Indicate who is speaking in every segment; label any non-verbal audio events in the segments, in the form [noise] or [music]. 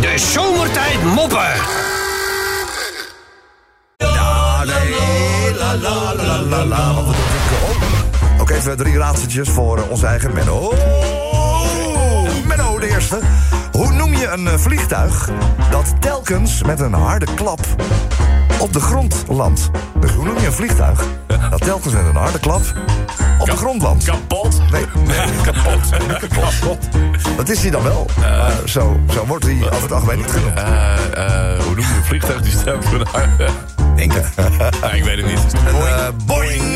Speaker 1: De zomertijd moppen.
Speaker 2: Oké, even drie raadseltjes voor eh, onze eigen Menno. Oh, Menno, de eerste. Hoe noem je een eh, vliegtuig dat telkens met een harde klap op de grond landt? Dus hoe noem je een vliegtuig dat telkens met een harde klap op de grond landt?
Speaker 3: Kapot.
Speaker 2: Nee, nee, [laughs] kapot. kapot. Dat is hij dan wel. Maar zo, zo wordt hij over het algemeen niet genoemd.
Speaker 3: Eh, eh, hoe noem je een vliegtuig die staat voor de aarde?
Speaker 2: Denk
Speaker 3: [laughs]
Speaker 2: het.
Speaker 3: Ah, ik weet het niet.
Speaker 2: Eh, boing.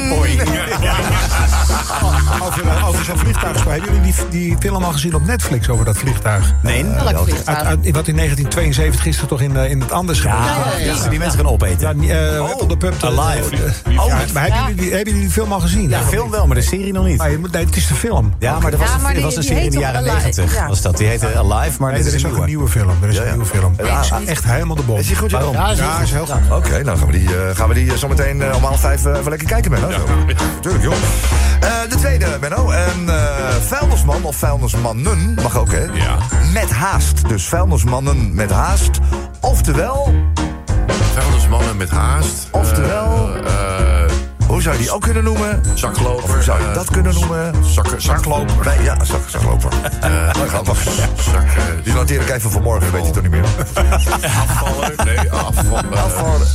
Speaker 4: Over, eh, over zo'n vliegtuigspa. Hebben jullie die, die film al gezien op Netflix over dat vliegtuig?
Speaker 5: Nee.
Speaker 6: Welk
Speaker 2: Welke?
Speaker 6: vliegtuig?
Speaker 4: Uit, uit- wat in 1972 is er toch in, eh, in het anders gebeurd?
Speaker 6: ja, ja.
Speaker 5: Die mensen gaan opeten.
Speaker 4: Ja, die, eh, op de pub. eh,
Speaker 5: Alive.
Speaker 4: eh,
Speaker 5: Oh,
Speaker 4: ja,
Speaker 5: met-
Speaker 4: maar hebben, jullie, die- hebben jullie die film al gezien?
Speaker 5: Ja, film wel, maar de serie nog niet.
Speaker 4: Maar je moet- nee, het is de film.
Speaker 5: Ja, maar er was,
Speaker 6: Ja,
Speaker 5: een,
Speaker 6: maar
Speaker 5: er
Speaker 6: die-
Speaker 5: was een
Speaker 6: die
Speaker 5: serie in de
Speaker 6: heet
Speaker 5: jaren
Speaker 6: toch Alive?
Speaker 5: 90.
Speaker 6: Ja.
Speaker 5: Was dat. Die heette Alive, maar
Speaker 4: Nee,
Speaker 5: dit
Speaker 4: er is ook een nieuwe film. Er is
Speaker 2: Ja,
Speaker 4: een
Speaker 2: ja.
Speaker 4: nieuwe film.
Speaker 2: Ja, ja.
Speaker 4: Echt helemaal de bom.
Speaker 2: Is die goed, Jeroen?
Speaker 4: Ja, is heel goed.
Speaker 2: Oké, nou gaan we die, eh, gaan we die eh, zometeen eh, om half vijf eh, even lekker kijken, Menno. Tuurlijk, joh. Eh, de tweede, Menno. Een eh, vuilnisman of vuilnismannen, mag ook, hè?
Speaker 3: Ja.
Speaker 2: Met haast. Dus vuilnismannen met haast. Oftewel,
Speaker 3: Vuilnismannen met haast.
Speaker 2: Oftewel-
Speaker 3: Eh, eh,
Speaker 2: hoe zou je die ook kunnen noemen?
Speaker 3: zakloper.
Speaker 2: Of hoe zou je
Speaker 3: eh,
Speaker 2: dat kunnen noemen?
Speaker 3: zak- zakloper.
Speaker 2: Nee, ja, zag, zag lopen. [laughs] Grappig.
Speaker 3: Zak, eh,
Speaker 2: Die noteer ik even voor morgen, weet je toch niet meer.
Speaker 3: afvallen. Nee,
Speaker 2: [laughs]
Speaker 3: afvallen.
Speaker 2: Afvallen.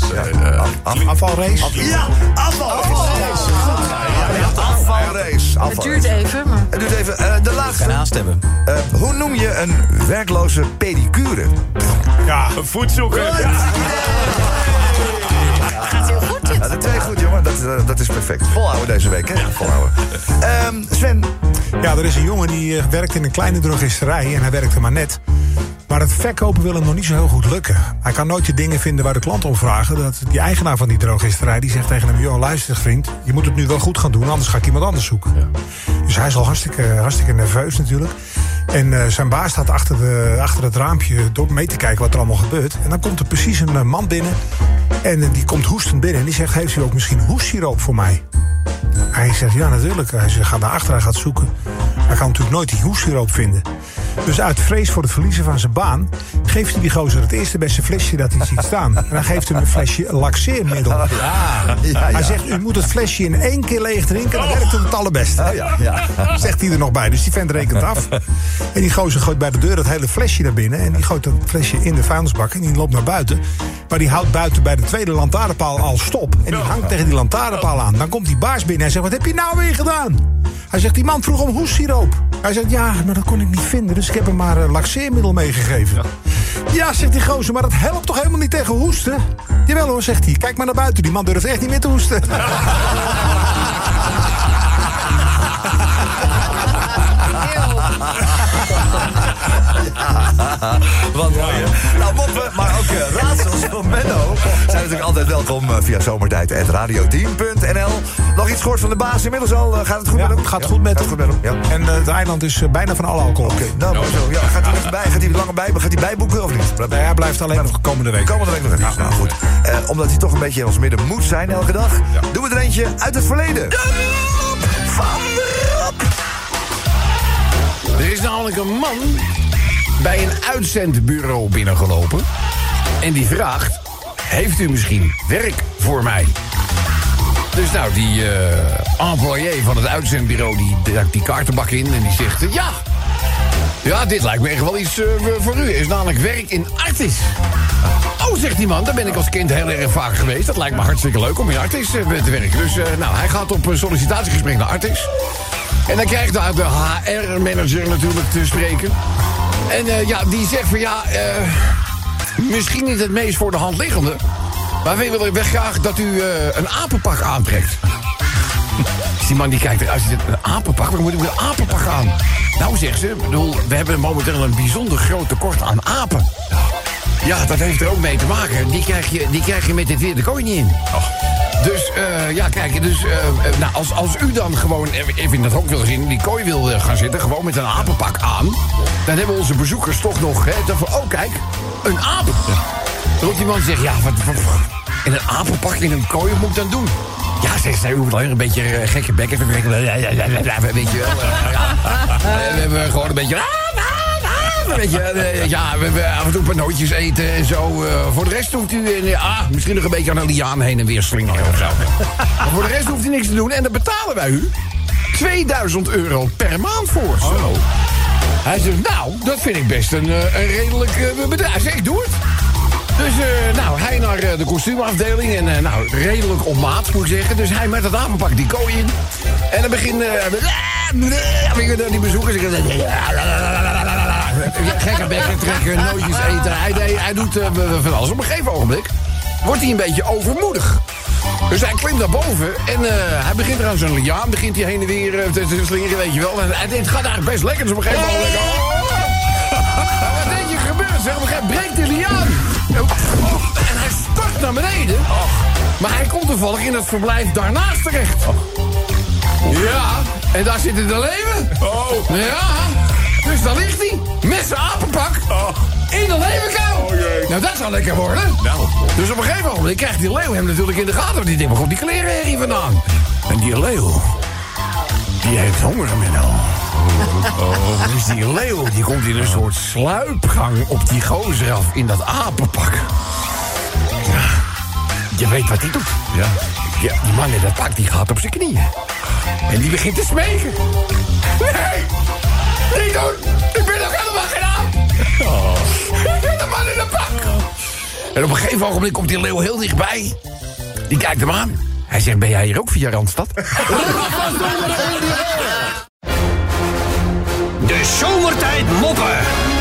Speaker 3: eh, eh,
Speaker 4: Afvalrace.
Speaker 2: Ja, afval. Afvalrace. Afvalrace.
Speaker 6: Het
Speaker 2: Afvalrace.
Speaker 6: duurt even, maar...
Speaker 2: Het duurt even. eh, de laatste.
Speaker 5: Geen haast hebben.
Speaker 2: Eh, hoe noem je een werkloze pedicure?
Speaker 3: Een voetzoeker.
Speaker 6: Gaat heel goed, dit.
Speaker 2: Nou, de twee goed, jongen. Dat, eh, dat is perfect. Volhouden deze week, hè? Volhouden. Ehm, Sven.
Speaker 4: Ja, er is een jongen die eh, werkt in een kleine drogisterij en hij werkte maar net. Maar het verkopen wil hem nog niet zo heel goed lukken. Hij kan nooit je dingen vinden waar de klant om vragen. Dat die eigenaar van die drogisterij die zegt tegen hem... joh, luister vriend, je moet het nu wel goed gaan doen... anders ga ik iemand anders zoeken. Dus hij is al hartstikke, hartstikke nerveus natuurlijk. En eh, zijn baas staat achter, de, achter het raampje door mee te kijken wat er allemaal gebeurt. En dan komt er precies een eh, man binnen. En eh, die komt hoestend binnen en die zegt... heeft u ook misschien hoestsiroop voor mij? Hij zegt, ja, natuurlijk. Hij zegt, ga naar achteren, hij gaat zoeken. Hij kan natuurlijk nooit die hoessiroop vinden. Dus uit vrees voor het verliezen van zijn baan... geeft hij die gozer het eerste beste flesje dat hij ziet staan. En hij geeft hem een flesje laxeermiddel.
Speaker 2: Ja, Oh.
Speaker 4: Hij
Speaker 2: ja.
Speaker 4: zegt, u moet het flesje in één keer leeg drinken... dan werkt het het allerbeste.
Speaker 2: ja, ja.
Speaker 4: [laughs] Zegt hij er nog bij. Dus die vent rekent af. En die gozer gooit bij de deur dat hele flesje naar binnen. En die gooit dat flesje in de vuilnisbak. En die loopt naar buiten. Maar die houdt buiten bij de tweede lantaarnpaal al stop. En die hangt tegen die lantaarnpaal aan. Dan komt die baas binnen. Hij zegt: Wat heb je nou weer gedaan? Hij zegt: Die man vroeg om hoessiroop. Hij zegt: Ja, maar dat kon ik niet vinden. Dus ik heb hem maar eh, laxeermiddel meegegeven. Ja, zegt die gozer, maar dat helpt toch helemaal niet tegen hoesten? Jawel hoor, zegt hij. Kijk maar naar buiten. Die man durft echt niet meer te hoesten. [laughs]
Speaker 2: Wat mooi, hè? Nou, moppen, maar ook eh, raadsels van Menno... zijn natuurlijk altijd welkom eh, via zomertijd.radioteam.nl. Nog iets gehoord van de baas inmiddels al? eh, gaat het goed met
Speaker 4: Ja,
Speaker 2: hem?
Speaker 4: het gaat goed met
Speaker 2: gaat
Speaker 4: hem.
Speaker 2: goed met hem, ja.
Speaker 4: En eh, het eiland is eh, bijna van alle alcohol.
Speaker 2: Oké, nou, maar zo. Ja, gaat hij even bij? Gaat hij langer bij? Gaat hij bijboeken of niet?
Speaker 4: Nee, hij blijft alleen nog komende week.
Speaker 2: Komende week nog even. Nou, goed. Eh, omdat hij toch een beetje in ons midden moet zijn elke dag... doen we er eentje uit het verleden.
Speaker 7: Er is namelijk een man bij een uitzendbureau binnengelopen. En die vraagt: Heeft u misschien werk voor mij? Dus nou, die eh, employé van het uitzendbureau die duikt die kaartenbak in en die zegt: eh, Ja, ja dit lijkt me echt wel iets eh, voor u. Er is namelijk werk in Artis. Oh, zegt die man, daar ben ik als kind heel erg vaak geweest. Dat lijkt me hartstikke leuk om in Artis eh, te werken. Dus eh, nou, hij gaat op een sollicitatiegesprek naar Artis. En dan krijgt daar de HR-manager natuurlijk te spreken. En eh, ja, die zegt van ja, eh, misschien niet het meest voor de hand liggende. Maar wij willen weg graag dat u eh, een apenpak aantrekt. Dus die man die kijkt eruit, die zegt, een apenpak? Waar moet ik met een apenpak aan? Nou, zegt ze, ik bedoel, we hebben momenteel een bijzonder groot tekort aan apen. Ja, dat heeft er ook mee te maken. Die krijg je, die krijg je met dit weer de kooi niet in. Dus eh, ja, kijk, dus, eh, eh, nou, als, als u dan gewoon even in dat hok wil zien, die kooi wil eh, gaan zitten, gewoon met een apenpak aan, dan hebben onze bezoekers toch nog, hè, dan van, oh kijk, een aap. Dan roept die man en zegt, ja, wat, wat, in een apenpak, in een kooi, wat moet ik dan doen? Ja, zegt zij, u moet alleen een beetje eh, gekke bek even Ah, breken. Ja, ja, ja, ja, ja, Weet je wel. eh, ja. Eh, We hebben gewoon een beetje... maar weet je, eh, ja, we, we af en toe panootjes eten en zo. Eh, voor de rest hoeft u eh, ah, misschien nog een beetje aan een liaan heen en weer slingeren of zo. maar voor de rest hoeft u niks te doen en dan betalen wij u 2000 euro per maand voor. Zo. Hij zegt, nou, dat vind ik best een, eh, een redelijk eh, bedrag. Hij zegt, ik doe het. Dus eh, nou, hij naar eh, de kostuumafdeling. En eh, nou, redelijk op maat moet ik zeggen. Dus hij met dat apenpak die kooi in. En dan begint... eh, eh, weet je, dan die bezoekers. Ik zeg, ja, la, la, la, la, la, la, la. Gekke bekken trekken, nootjes eten. Hij, deed- hij doet eh, van alles. Op een gegeven ogenblik wordt hij een beetje overmoedig. Dus hij klimt naar boven en eh, hij begint eraan zo'n liaan. Begint hij heen en weer eh, te te slingeren, weet je wel. En hij denkt, het gaat eigenlijk best lekker. Dus op een gegeven moment... Maar Wat denk je gebeurt? Zeg, op een gegeven moment breekt de liaan. En hij stort naar beneden. Maar hij komt toevallig in het verblijf daarnaast terecht. Ja, en daar zit het leven.
Speaker 3: Oh.
Speaker 7: Ja, dus daar ligt hij. Met zijn apenpak. In de leeuwenkuil.
Speaker 3: Oh, jee.
Speaker 7: nou, dat zal lekker worden.
Speaker 3: Nou.
Speaker 7: Dus op een gegeven moment krijgt die leeuw hem natuurlijk in de gaten. Want die denkt, waar komt die kleren hier vandaan? En die leeuw, die heeft honger, nou. Menno. Oh. Dus die leeuw, die komt in een soort sluipgang op die gozer af in dat apenpak. Ja, je weet wat hij doet.
Speaker 3: Ja.
Speaker 7: Ja, die man in dat pak, die gaat op zijn knieën. En die begint te smeken. Nee! Niet doen! Ik ben nog helemaal geen aap! Ik ben de man in dat pak! En op een gegeven ogenblik komt die leeuw heel dichtbij. Die kijkt hem aan. Hij zegt, ben jij hier ook via Randstad?
Speaker 1: De zomertijd moppen.